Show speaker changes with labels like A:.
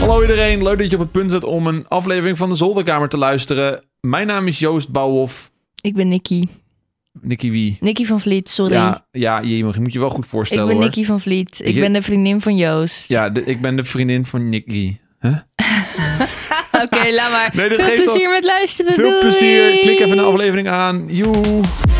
A: Hallo iedereen, leuk dat je op het punt zit om een aflevering van de Zolderkamer te luisteren. Mijn naam is Joost Bouwhoff,
B: Ik ben Nicky.
A: Nicky Wie.
B: Nicky van Vliet, sorry.
A: Ja, ja, je mag- je moet je wel goed
B: ik
A: voorstellen
B: ben
A: hoor.
B: Nicky van Vliet. Ik
A: Je-
B: ben de vriendin van Joost.
A: Ja, de- ik ben de vriendin van Nicky.
B: Oké, laat maar.
A: Nee, dat
B: Veel
A: geeft al-
B: plezier met luisteren.
A: Veel
B: doei.
A: plezier, klik even de aflevering aan. Joe.